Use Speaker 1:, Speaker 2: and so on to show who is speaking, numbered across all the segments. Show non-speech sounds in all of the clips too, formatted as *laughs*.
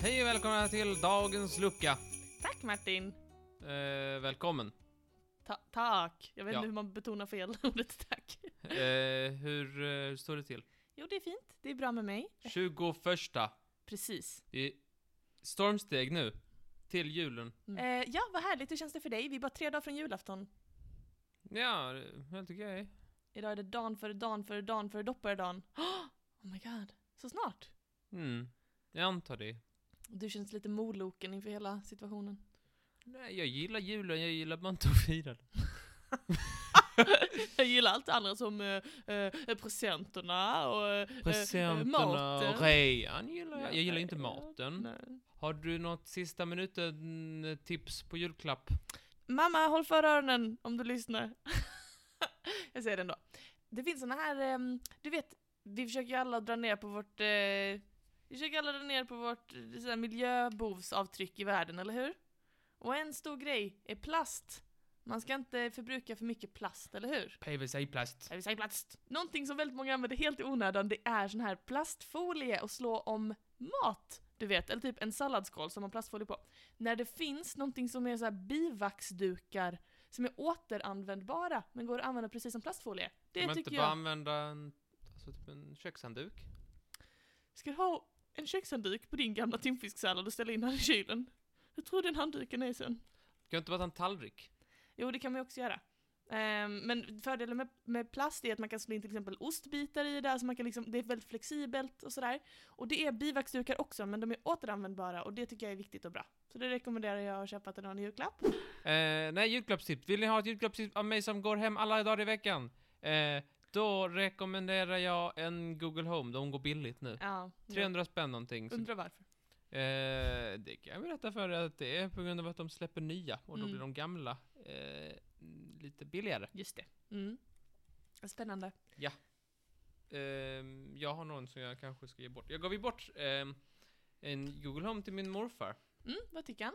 Speaker 1: Hej och välkomna till dagens lucka.
Speaker 2: Tack Martin!
Speaker 1: Eh, välkommen.
Speaker 2: Ta tack! Jag vet
Speaker 1: Ja.
Speaker 2: inte hur man betonar fel *laughs* ordet tack.
Speaker 1: Eh, hur, eh, hur står det till?
Speaker 2: Jo, det är fint. Det är bra med mig.
Speaker 1: 21.
Speaker 2: Precis.
Speaker 1: Det är stormsteg nu. Till julen.
Speaker 2: Eh, ja, vad härligt. Hur känns det för dig? Vi är bara tre dagar från julafton.
Speaker 1: Ja, det är helt okej.
Speaker 2: Idag är det dan för dan för dan för dopparedan. Åh, *gasps* Oh my god, så snart!
Speaker 1: Mm. Jag antar det.
Speaker 2: Du känns lite moloken inför hela situationen.
Speaker 1: Nej, jag gillar julen, jag gillar bara inte att fira den.
Speaker 2: Jag gillar allt andra som eh, eh, presenterna och eh, eh,
Speaker 1: Presenterna och
Speaker 2: maten.
Speaker 1: rean gillar jag. Jag gillar inte maten.
Speaker 2: Nej.
Speaker 1: Har du något sista minuten-tips på julklapp?
Speaker 2: Mamma, håll för öronen om du lyssnar. *laughs* jag säger det ändå. Det finns såna här, ehm, du vet, vi försöker ju alla dra ner på vårt, eh, vi försöker alla dra ner på vårt eh, så här, miljöbovsavtryck i världen, eller hur? Och en stor grej är plast. Man ska inte förbruka för mycket plast, eller hur?
Speaker 1: PVC-plast.
Speaker 2: Jag vill säga plast. Någonting som väldigt många använder helt i onödan, det är sån här plastfolie och slå om mat. Du vet, eller typ en salladsskål som har plastfolie på. När det finns någonting som är så här bivaxdukar som är återanvändbara men går att använda precis som plastfolie.
Speaker 1: Kan
Speaker 2: Det
Speaker 1: man inte
Speaker 2: tycker
Speaker 1: bara
Speaker 2: jag.
Speaker 1: använda en, alltså typ en kökshandduk?
Speaker 2: Ska du ha en kökshandduk på din gamla timfisksallad och ställa in den i kylen? Hur tror du den handduken är sen?
Speaker 1: Kan det inte bara ta en tallrik?
Speaker 2: Jo, det kan man ju också göra. Ehm, men fördelen med, med plast är att man kan slå in till exempel ostbitar i det, så man kan liksom, det är väldigt flexibelt och sådär. Och det är bivaxdukar också, men de är återanvändbara och det tycker jag är viktigt och bra. Så det rekommenderar jag att köpa till någon i julklapp.
Speaker 1: Eh, nej, julklappstips. Vill ni ha ett julklappstips av mig som går hem alla dagar i veckan? Eh, då rekommenderar jag en Google Home. De går billigt nu.
Speaker 2: Ja, ja.
Speaker 1: 300 spänn någonting. Så,
Speaker 2: Undrar varför.
Speaker 1: eh, det kan jag berätta för er att det är på grund av att de släpper nya och då
Speaker 2: Mm.
Speaker 1: blir de gamla eh, lite billigare.
Speaker 2: Just det. Mm. Spännande.
Speaker 1: Ehm, jag har någon som jag kanske ska ge bort. Jag gav ju bort ehm, en Google Home till min morfar.
Speaker 2: Mm, vad tycker han?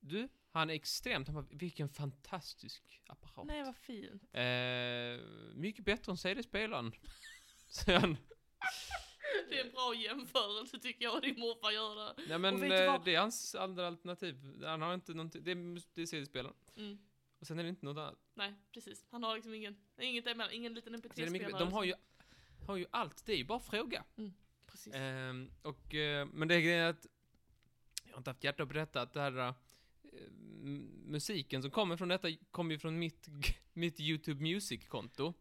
Speaker 1: Du, han är extremt, han bara, vilken fantastisk apparat.
Speaker 2: Nej, vad fint.
Speaker 1: Ehm, mycket bättre än *laughs* CD-spelaren. säger han.
Speaker 2: Det är en bra jämförelse tycker jag, din morfar gör det.
Speaker 1: Nej men
Speaker 2: Och vet du
Speaker 1: eh,
Speaker 2: vad?
Speaker 1: det är hans andra alternativ. Han har inte någonting, det är, mus- det är CD-spelaren.
Speaker 2: Mm.
Speaker 1: Och sen är det inte något annat.
Speaker 2: Nej, precis. Han har liksom ingen, inget emellan, ingen liten
Speaker 1: Alltså, det är mycket,
Speaker 2: mp3-spelare.
Speaker 1: de har ju, har ju allt, det är ju bara att fråga.
Speaker 2: Precis.
Speaker 1: Ehm, och, eh, men det är grejen att jag har inte haft hjärta att berätta att det här eh, m- musiken som kommer från detta kommer ju från mitt, *laughs* mitt YouTube Music-konto.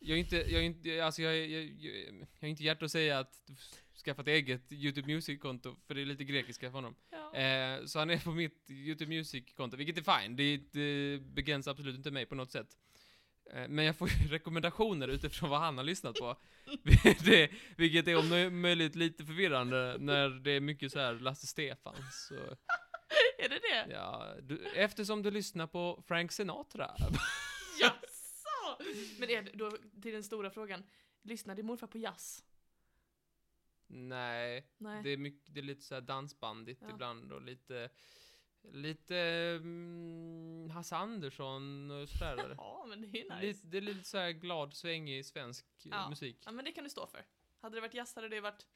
Speaker 1: Jag är inte, jag är inte, alltså jag, är- jag, jag, jag har inte hjärta att säga att du skaffa ett eget YouTube Music-konto, för det är lite grekiska för honom.
Speaker 2: Ja.
Speaker 1: Eh, så han är på mitt YouTube Music-konto, vilket är fine, det, det begränsar absolut inte mig på något sätt. Eh, men jag får ju *laughs* rekommendationer utifrån vad han har lyssnat
Speaker 2: *laughs*
Speaker 1: på. *laughs* det, vilket är om nö- möjligt lite förvirrande när det är mycket så här Lasse Stefans och,
Speaker 2: Är det det?
Speaker 1: ja, du, Eftersom du lyssnar på Frank Sinatra. *laughs*
Speaker 2: Jaså? *laughs* Men är det, då till den stora frågan. Lyssnar din morfar på jazz?
Speaker 1: Nej,
Speaker 2: Nej.
Speaker 1: Det, är mycket, det är lite så här dansbandigt
Speaker 2: Ja.
Speaker 1: ibland och lite, lite mm, Hasse Andersson och sådär.
Speaker 2: Ja, men det är nice.
Speaker 1: Lite, det är lite så här glad, svängig svensk eh,
Speaker 2: Ja.
Speaker 1: musik.
Speaker 2: Ja, men det kan du stå för. Hade det varit jazz hade det varit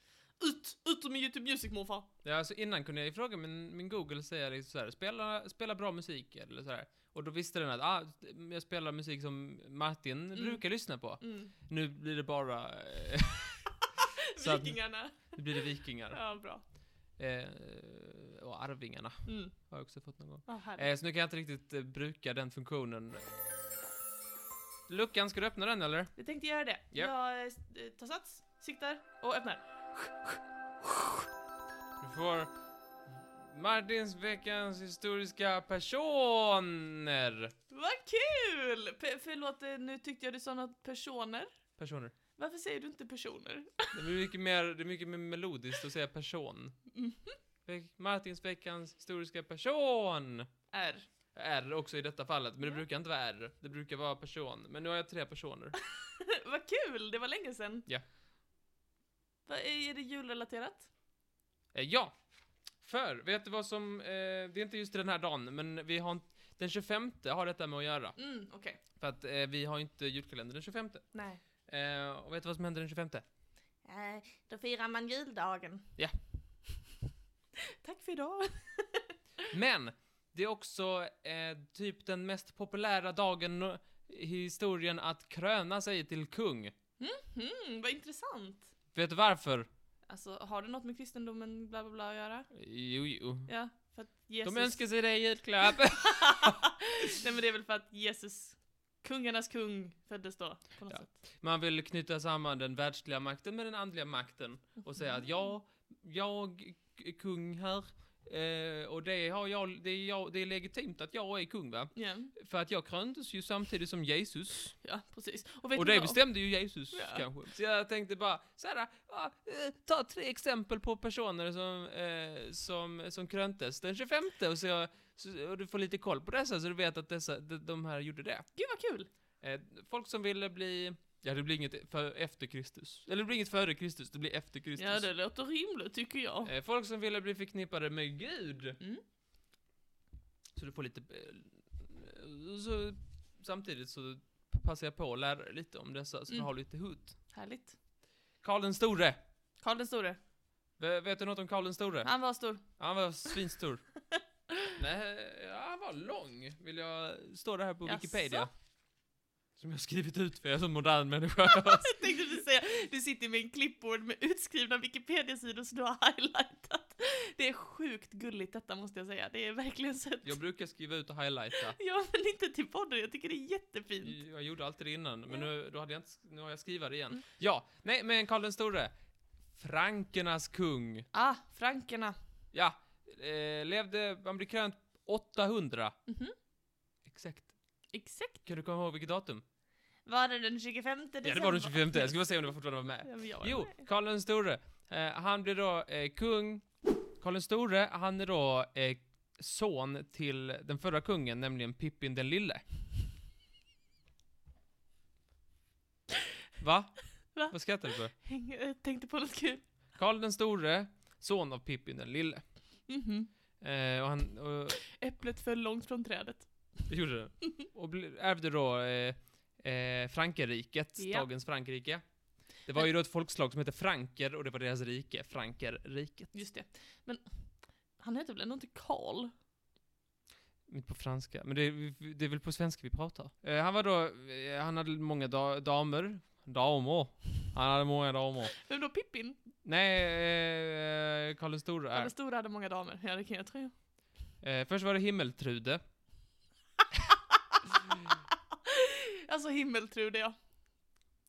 Speaker 2: ut, ut med YouTube Music morfar.
Speaker 1: Ja, alltså innan kunde jag ju fråga min, min Google säga liksom så här, spela, spela bra musik eller så här. Och då visste den att ah, jag spelar musik som Martin
Speaker 2: Mm.
Speaker 1: brukar lyssna på.
Speaker 2: Mm.
Speaker 1: Nu blir det bara eh, *laughs* Så att-
Speaker 2: Vikingarna.
Speaker 1: nu blir det vikingar.
Speaker 2: Ja, bra.
Speaker 1: Eh, och Arvingarna
Speaker 2: Mm.
Speaker 1: har jag också fått någon gång.
Speaker 2: Ja, härligt.
Speaker 1: Eh, så nu kan jag inte riktigt eh, bruka den funktionen. Luckan, ska du öppna den eller?
Speaker 2: Vi tänkte göra det.
Speaker 1: Ja.
Speaker 2: Jag eh, tar sats, siktar och öppnar.
Speaker 1: Du får Martins veckans historiska personer.
Speaker 2: Vad kul! P- förlåt, eh, nu tyckte jag du sa något personer.
Speaker 1: Personer.
Speaker 2: Varför säger du inte personer?
Speaker 1: Det är mycket mer, det är mycket mer melodiskt att säga person.
Speaker 2: Mhm.
Speaker 1: Ve- Martins veckans historiska person.
Speaker 2: R. *laughs*
Speaker 1: R också i detta fallet, men det
Speaker 2: Ja.
Speaker 1: brukar inte vara R. Det brukar vara person. Men nu har jag tre personer.
Speaker 2: Vad kul! Det var länge sedan.
Speaker 1: Ja.
Speaker 2: Va, är det julrelaterat?
Speaker 1: Eh, ja! För, vet du vad som, eh, det är inte just den här dagen, men vi har en, den 25 har detta med att göra.
Speaker 2: Mm, okej.
Speaker 1: För att eh, vi har inte julkalender den 25.
Speaker 2: Nej.
Speaker 1: Eh, och vet du vad som händer den 25?
Speaker 2: Eh, då firar man juldagen.
Speaker 1: Ja.
Speaker 2: Tack för idag.
Speaker 1: Men! Det är också eh, typ den mest populära dagen no- i historien att kröna sig till kung.
Speaker 2: Mm, vad intressant.
Speaker 1: Vet du varför?
Speaker 2: Alltså, har det något med kristendomen bla bla bla att göra?
Speaker 1: Jo, jo.
Speaker 2: Ja, för att Jesus...
Speaker 1: De önskar sig dig i julklapp. *laughs*
Speaker 2: Nej men det är väl för att Jesus, kungarnas kung, föddes då på något
Speaker 1: Ja.
Speaker 2: sätt.
Speaker 1: Man vill knyta samman den världsliga makten med den andliga makten och säga att jag, jag är kung här. Eh, och det, har jag, det, är jag, det är legitimt att jag är kung va?
Speaker 2: Ja,
Speaker 1: För att jag kröntes ju samtidigt som Jesus.
Speaker 2: ja precis. Och, vet
Speaker 1: och
Speaker 2: ni
Speaker 1: det
Speaker 2: vad?
Speaker 1: bestämde ju Jesus
Speaker 2: Ja.
Speaker 1: kanske. Så jag tänkte bara såhär, ja, eh, ta tre exempel på personer som, eh, som, som kröntes den 25 och, så, så, och du får lite koll på dessa så du vet att dessa, de, de här gjorde det.
Speaker 2: Gud vad kul!
Speaker 1: Eh, folk som ville bli... Ja, det blir inget för, efter Kristus. Eller det blir inget före Kristus, det blir efter Kristus.
Speaker 2: Ja det låter rimligt tycker jag.
Speaker 1: eh, folk som ville bli förknippade med Gud.
Speaker 2: Mm.
Speaker 1: Så du får lite... eh, Så, samtidigt så passar jag på att lära dig lite om dessa, så du
Speaker 2: Mm.
Speaker 1: har lite hut.
Speaker 2: Härligt.
Speaker 1: Karl den store!
Speaker 2: Karl den store,
Speaker 1: V- vet du något om Karl den store?
Speaker 2: han var stor. *laughs*
Speaker 1: Han var svinstor. Nej, ja, han var lång, vill jag... Står det här på
Speaker 2: Jaså?
Speaker 1: Wikipedia. Som jag skrivit ut för jag är så modern människa.
Speaker 2: *laughs* Jag tänkte precis säga, du sitter med en klippbord med utskrivna Wikipedia-sidor som du har highlightat. Det är sjukt gulligt detta måste jag säga, det är verkligen sött.
Speaker 1: Jag brukar skriva ut och highlighta.
Speaker 2: Ja men inte till podden, jag tycker det är jättefint.
Speaker 1: Jag gjorde alltid det innan, men
Speaker 2: Ja.
Speaker 1: nu, då hade jag inte, nu har jag skrivit det igen.
Speaker 2: Mm.
Speaker 1: Ja, nej, men Karl den store. Frankernas kung.
Speaker 2: Ah, frankerna.
Speaker 1: Ja, eh, levde, han blev krönt 800.
Speaker 2: Mhm.
Speaker 1: Exakt.
Speaker 2: Exakt.
Speaker 1: Kan du komma ihåg vilket datum?
Speaker 2: Var det den 25 december?
Speaker 1: Ja, det var den 25. Jag ska bara se om det var fortfarande var med.
Speaker 2: Ja, men jag var
Speaker 1: Jo,
Speaker 2: med.
Speaker 1: Karl den store. Eh, han blev då eh, kung. Karl den store, han är då eh, son till den förra kungen, nämligen Pippin den lille. Va?
Speaker 2: Va?
Speaker 1: Vad skrattar du för?
Speaker 2: Häng- Jag tänkte på något kul.
Speaker 1: Karl den store, son av Pippin den lille. Eh, och han och,
Speaker 2: Äpplet föll långt från trädet.
Speaker 1: gjorde det. Och bli- ärvde då eh, eh, Frankerriket,
Speaker 2: Ja.
Speaker 1: dagens Frankrike. Det var ju då ett folkslag som hette franker och det var deras rike, Frankerriket.
Speaker 2: Just det. Men han heter väl ändå inte Karl?
Speaker 1: Inte på franska, men det är, det är väl på svenska vi pratar. Eh, han var då, eh, han hade många da, damer. Damer. Han hade många damer.
Speaker 2: Vem då? Pippin?
Speaker 1: Nej, eh, Karl den store
Speaker 2: Ja.
Speaker 1: är.
Speaker 2: Den stora hade många damer. Ja, det kan
Speaker 1: *laughs*
Speaker 2: jag tro.
Speaker 1: Eh, först var det Himmeltrude.
Speaker 2: Alltså himmeltrude ja.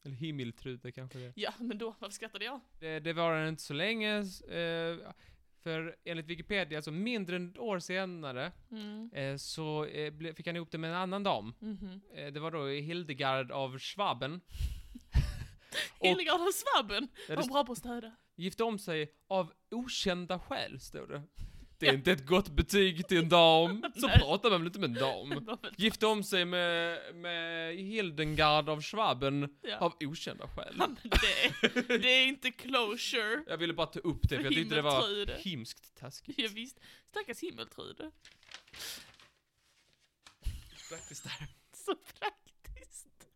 Speaker 1: Eller Himmeltrude kanske det är.
Speaker 2: Ja, men då, varför skrattade jag?
Speaker 1: Det, det var den inte så länge, s- eh, för enligt Wikipedia, alltså mindre än ett år senare,
Speaker 2: Mm.
Speaker 1: eh, så eh, ble, fick han ihop det med en annan dam.
Speaker 2: Mhm.
Speaker 1: Eh, det var då Hildegard av Schwaben. Och-
Speaker 2: Hildegard av Svabben
Speaker 1: Ja, det
Speaker 2: var bra på att städa.
Speaker 1: gifte om sig av okända skäl, står
Speaker 2: *laughs*
Speaker 1: det. Det är inte ett gott betyg till en dam. Så
Speaker 2: Nej.
Speaker 1: pratar man väl inte med en
Speaker 2: *laughs*
Speaker 1: dam?
Speaker 2: Var väl-
Speaker 1: Gifte om sig med, med Hildengard av Schwaben
Speaker 2: Ja.
Speaker 1: av okända skäl.
Speaker 2: Ja, *laughs* men det, det är inte closure.
Speaker 1: Jag ville bara ta upp det, för jag tyckte det var
Speaker 2: Himmeltrude.
Speaker 1: himskt taskigt.
Speaker 2: Ja, visst. Stackars himmeltrude.
Speaker 1: Faktiskt där.
Speaker 2: Så praktiskt.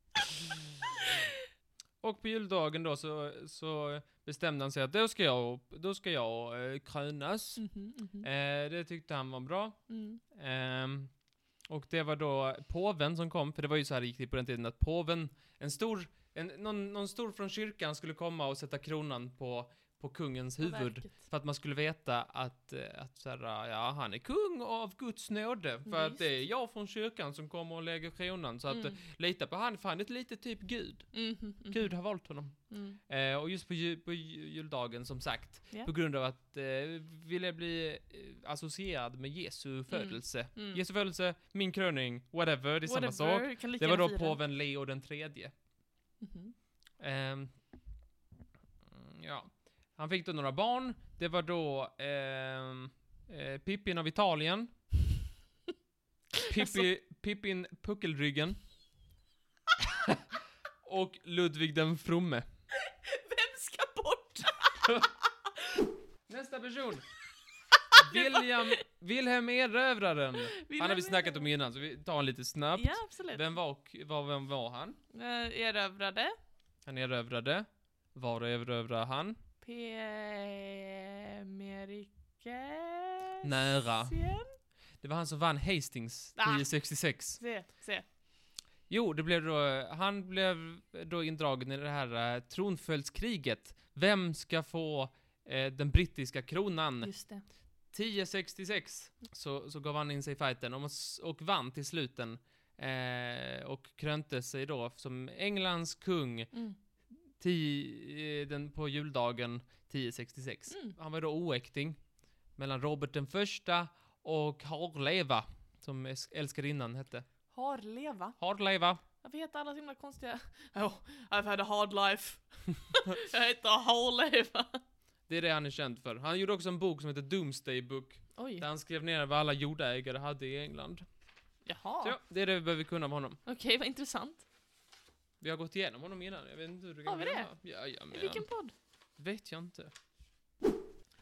Speaker 1: Och på juldagen då så, så bestämde han sig att då ska jag, då ska jag eh, krönas. Eh, det tyckte han var bra.
Speaker 2: Mm.
Speaker 1: Ehm, och det var då påven som kom, för det var ju så här det gick till på den tiden att påven, en stor, en, någon, någon stor från kyrkan skulle komma och sätta kronan på, på kungens huvud.
Speaker 2: Verket.
Speaker 1: För att man skulle veta att, eh, att så här, ja, han är kung av Guds nåde. För att
Speaker 2: Visst.
Speaker 1: det är jag från kyrkan som kommer och lägger kronan. Så att eh,
Speaker 2: Mm.
Speaker 1: lita på han, för han är lite typ Gud.
Speaker 2: Mhm, mhm.
Speaker 1: Gud har valt honom.
Speaker 2: Mm.
Speaker 1: Eh, och just på, ju, på ju- juldagen som sagt,
Speaker 2: Ja.
Speaker 1: på grund av att eh, ville jag bli eh, associerad med Jesu födelse.
Speaker 2: Mm.
Speaker 1: Jesu födelse, min kröning, whatever, det är samma sak.
Speaker 2: Whatever, kan lika
Speaker 1: Det var
Speaker 2: gärna
Speaker 1: då
Speaker 2: fira.
Speaker 1: påven Leo den tredje.
Speaker 2: Mhm.
Speaker 1: Ehm, mm, ja. Han fick då några barn, det var då ehm, eh, Pippin av
Speaker 2: *laughs*
Speaker 1: Italien. Pippi,
Speaker 2: Alltså.
Speaker 1: Pippin
Speaker 2: *laughs*
Speaker 1: Puckelryggen. och Ludvig den fromme.
Speaker 2: Vem ska bort?
Speaker 1: *laughs* Nästa person! William, Wilhelm Erövraren.
Speaker 2: Vill
Speaker 1: Han har vi
Speaker 2: jag
Speaker 1: snackat
Speaker 2: veta?
Speaker 1: om innan, så vi tar en lite snabbt.
Speaker 2: Ja, absolut.
Speaker 1: Vem var, och, var, vem var han?
Speaker 2: Eh, Erövrade.
Speaker 1: Han erövrade. Var erövrade han?
Speaker 2: P... Amerikas...
Speaker 1: Nära. Det var han som vann Hastings
Speaker 2: Ah.
Speaker 1: 1066.
Speaker 2: Se, se.
Speaker 1: Jo, det blev då, han blev då indragen i det här eh, tronföljdskriget. Vem ska få eh, den brittiska kronan?
Speaker 2: Just det.
Speaker 1: 1066 så, så gav han in sig i fighten och, s- och vann till sluten. Eh, och krönte sig då som Englands kung
Speaker 2: Mm.
Speaker 1: ti, eh, den, på juldagen 1066.
Speaker 2: Mm.
Speaker 1: Han var då oäkting mellan Robert den första och Harleva, som äs- älskarinnan hette.
Speaker 2: Harleva?
Speaker 1: Harleva.
Speaker 2: Varför heter alla så himla konstiga... *laughs* Oh, I've had a hard life. *laughs* jag heter Harleva.
Speaker 1: Det är det han är känd för. Han gjorde också en bok som heter Doomsday Book,
Speaker 2: Oj.
Speaker 1: där han skrev ner vad alla jordägare hade i England.
Speaker 2: Jaha.
Speaker 1: Så ja, det är det vi behöver kunna om honom.
Speaker 2: Okej, vad intressant.
Speaker 1: Vi har gått igenom honom innan, jag vet inte hur du
Speaker 2: Har vi det?
Speaker 1: glömma. Jajamän.
Speaker 2: I vilken podd?
Speaker 1: Vet jag inte.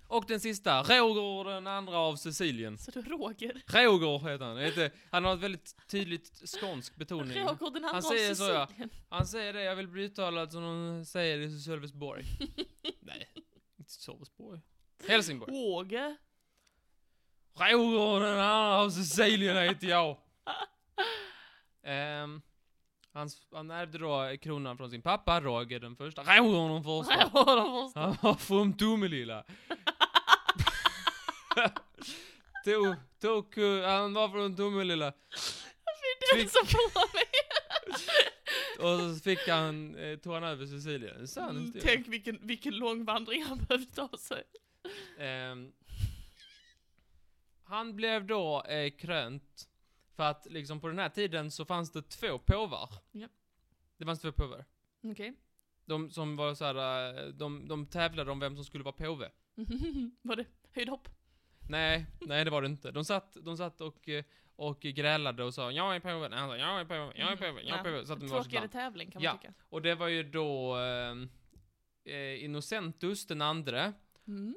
Speaker 1: Och den sista, Roger den andra av Sicilien.
Speaker 2: Så du Roger?
Speaker 1: Roger heter han. Det är inte- Han har ett väldigt tydligt skånsk betoning.
Speaker 2: Roger den andra
Speaker 1: Han
Speaker 2: av
Speaker 1: säger så, ja.
Speaker 2: Sicilien.
Speaker 1: Han säger det, jag vill bli uttalad som de säger i
Speaker 2: *laughs*
Speaker 1: Sölvesborg. Nej, inte Sölvesborg. Helsingborg.
Speaker 2: Roger?
Speaker 1: Roger den andra av Sicilien heter jag. Ehm, hans, han ärvde då kronan från sin pappa, Roger den första. Roger den första.
Speaker 2: Roger den första.
Speaker 1: Han *laughs* var från
Speaker 2: *laughs*
Speaker 1: Tomelilla. tog, tog, eh, han var från Tomelilla.
Speaker 2: Det är den som får mig.
Speaker 1: Och så fick han, eh, tog han över Sicilien. En sann
Speaker 2: Mm,
Speaker 1: historia.
Speaker 2: Tänk vilken, vilken lång vandring han behövde ta sig.
Speaker 1: Ehm, han blev då eh, krönt för att liksom på den här tiden så fanns det två påvar.
Speaker 2: Ja.
Speaker 1: Det fanns två påvar.
Speaker 2: Okej.
Speaker 1: De som var så här, eh, de, de tävlade om vem som skulle vara påve.
Speaker 2: Mhm, *laughs* Var det höjdhopp?
Speaker 1: Nej, nej det var det inte. De satt, de satt och, eh, och grälade och sa jag är påven, han sa jag är påven, jag är påven, jag är påven. Satt de med varsitt
Speaker 2: en tråkigare
Speaker 1: namn.
Speaker 2: tävling kan
Speaker 1: Ja.
Speaker 2: man tycka.
Speaker 1: Och det var ju då ehm, eh, Innocentus den andre
Speaker 2: Mm.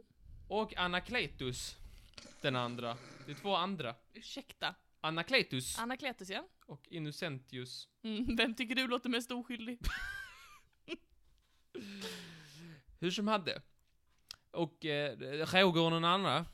Speaker 1: och Anakletus den andra. Det är två andra.
Speaker 2: Ursäkta.
Speaker 1: Anakletus
Speaker 2: Anakletus ja.
Speaker 1: och Innocentius.
Speaker 2: Mm. Vem tycker du låter mest oskyldig?
Speaker 1: Hur som hade. Och eh, Roger den andra,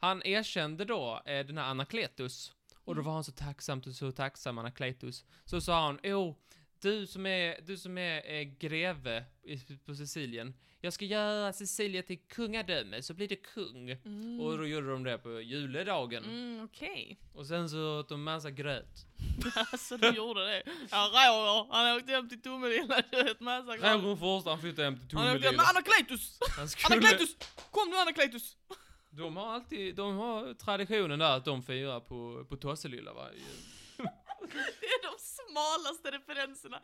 Speaker 1: han erkände då eh, den här Anakletus. Och då
Speaker 2: Mm.
Speaker 1: var han så tacksam, och så tacksam Anakletus. Så sa han, åh, du som är, du som är eh, greve i, på Sicilien, jag ska göra Sicilien till kungadöme, så blir det kung.
Speaker 2: Mm.
Speaker 1: Och då gjorde de det på juledagen.
Speaker 2: Mm, Okej.
Speaker 1: Och sen så åt de massa gröt.
Speaker 2: *laughs* alltså du gjorde det. Ja, Roger, han åkte hem till Tomelilla och ett massa
Speaker 1: Roger den första, han flyttade hem till
Speaker 2: Han åkte hem
Speaker 1: Tomelilla.
Speaker 2: med Anakletus!
Speaker 1: Han skulle...
Speaker 2: Anakletus! Kom nu Anakletus!
Speaker 1: De har alltid, de har traditionen där att de firar på, på Tosselilla varje
Speaker 2: Det är de smalaste *laughs* referenserna.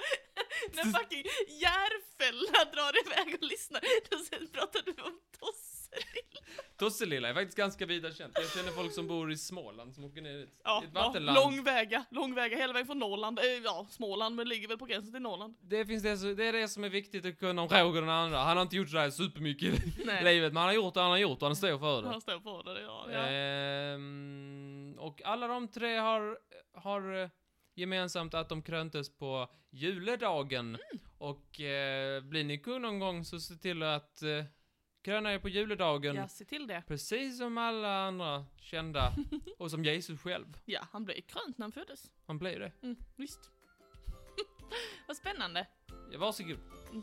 Speaker 2: När fucking Järfälla drar iväg och lyssnar, då sen pratar du om Tosse.
Speaker 1: Tosselilla är faktiskt ganska vida känt. Jag känner folk som bor i Småland som åker ner dit.
Speaker 2: Ja,
Speaker 1: I ett
Speaker 2: ja
Speaker 1: vattenland.
Speaker 2: lång väga, lång väga, hela vägen från Norrland. Eh, Ja, Småland, men ligger väl på gränsen till Norrland.
Speaker 1: Det, finns det, så- det är det som är viktigt att kunna om Roger den andra. Han har inte gjort så här supermycket i
Speaker 2: Nej,
Speaker 1: livet, men han har gjort det han har gjort och han står för det.
Speaker 2: han står på det. Ja,
Speaker 1: Eh,
Speaker 2: ja.
Speaker 1: Ehm, och alla de tre har, har eh, gemensamt att de kröntes på juledagen.
Speaker 2: Mm.
Speaker 1: Och eh, blir ni kung någon gång så se till att eh, kröna er på juledagen.
Speaker 2: ja, se till det.
Speaker 1: Precis som alla andra
Speaker 2: *laughs*
Speaker 1: kända. Och som Jesus själv.
Speaker 2: Ja, han blev krönt när han föddes.
Speaker 1: Han blev det.
Speaker 2: Mm, visst. *laughs* Vad spännande.
Speaker 1: Ja, Varsågod.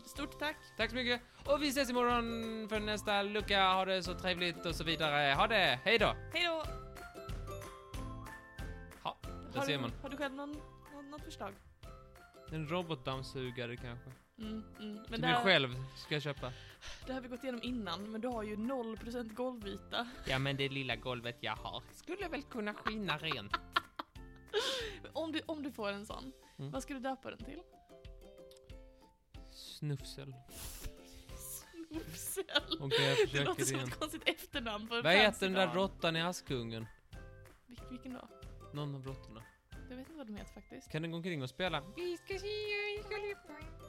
Speaker 2: Stort tack.
Speaker 1: Tack så mycket. Och vi ses imorgon för nästa lucka. Ha det så trevligt och så vidare. Ha det. Hej då.
Speaker 2: Hej då.
Speaker 1: Ja, där
Speaker 2: Har
Speaker 1: ser
Speaker 2: du,
Speaker 1: man.
Speaker 2: har du själv någon, någon, något förslag?
Speaker 1: En robotdammsugare kanske.
Speaker 2: Mm, mm.
Speaker 1: Som jag
Speaker 2: det här-
Speaker 1: själv ska köpa.
Speaker 2: Det har vi gått igenom innan, men du har ju 0% golvyta.
Speaker 1: Ja, men det lilla golvet jag har skulle väl kunna skina rent.
Speaker 2: Om du, om du får en sån,
Speaker 1: Mm.
Speaker 2: vad ska du döpa den till?
Speaker 1: Snufsel.
Speaker 2: Snopsel.
Speaker 1: *laughs* Okej, jag
Speaker 2: *laughs* Det låter
Speaker 1: försöker
Speaker 2: som
Speaker 1: igen.
Speaker 2: ett konstigt efternamn för en
Speaker 1: Vad
Speaker 2: fancy
Speaker 1: heter den där
Speaker 2: dam.
Speaker 1: råttan i Askungen?
Speaker 2: Vil- Vilken då?
Speaker 1: Någon av råttorna.
Speaker 2: Jag vet inte vad de heter faktiskt.
Speaker 1: Kan den gå omkring och spela?
Speaker 3: Vi ska se hur vi ska lyfta.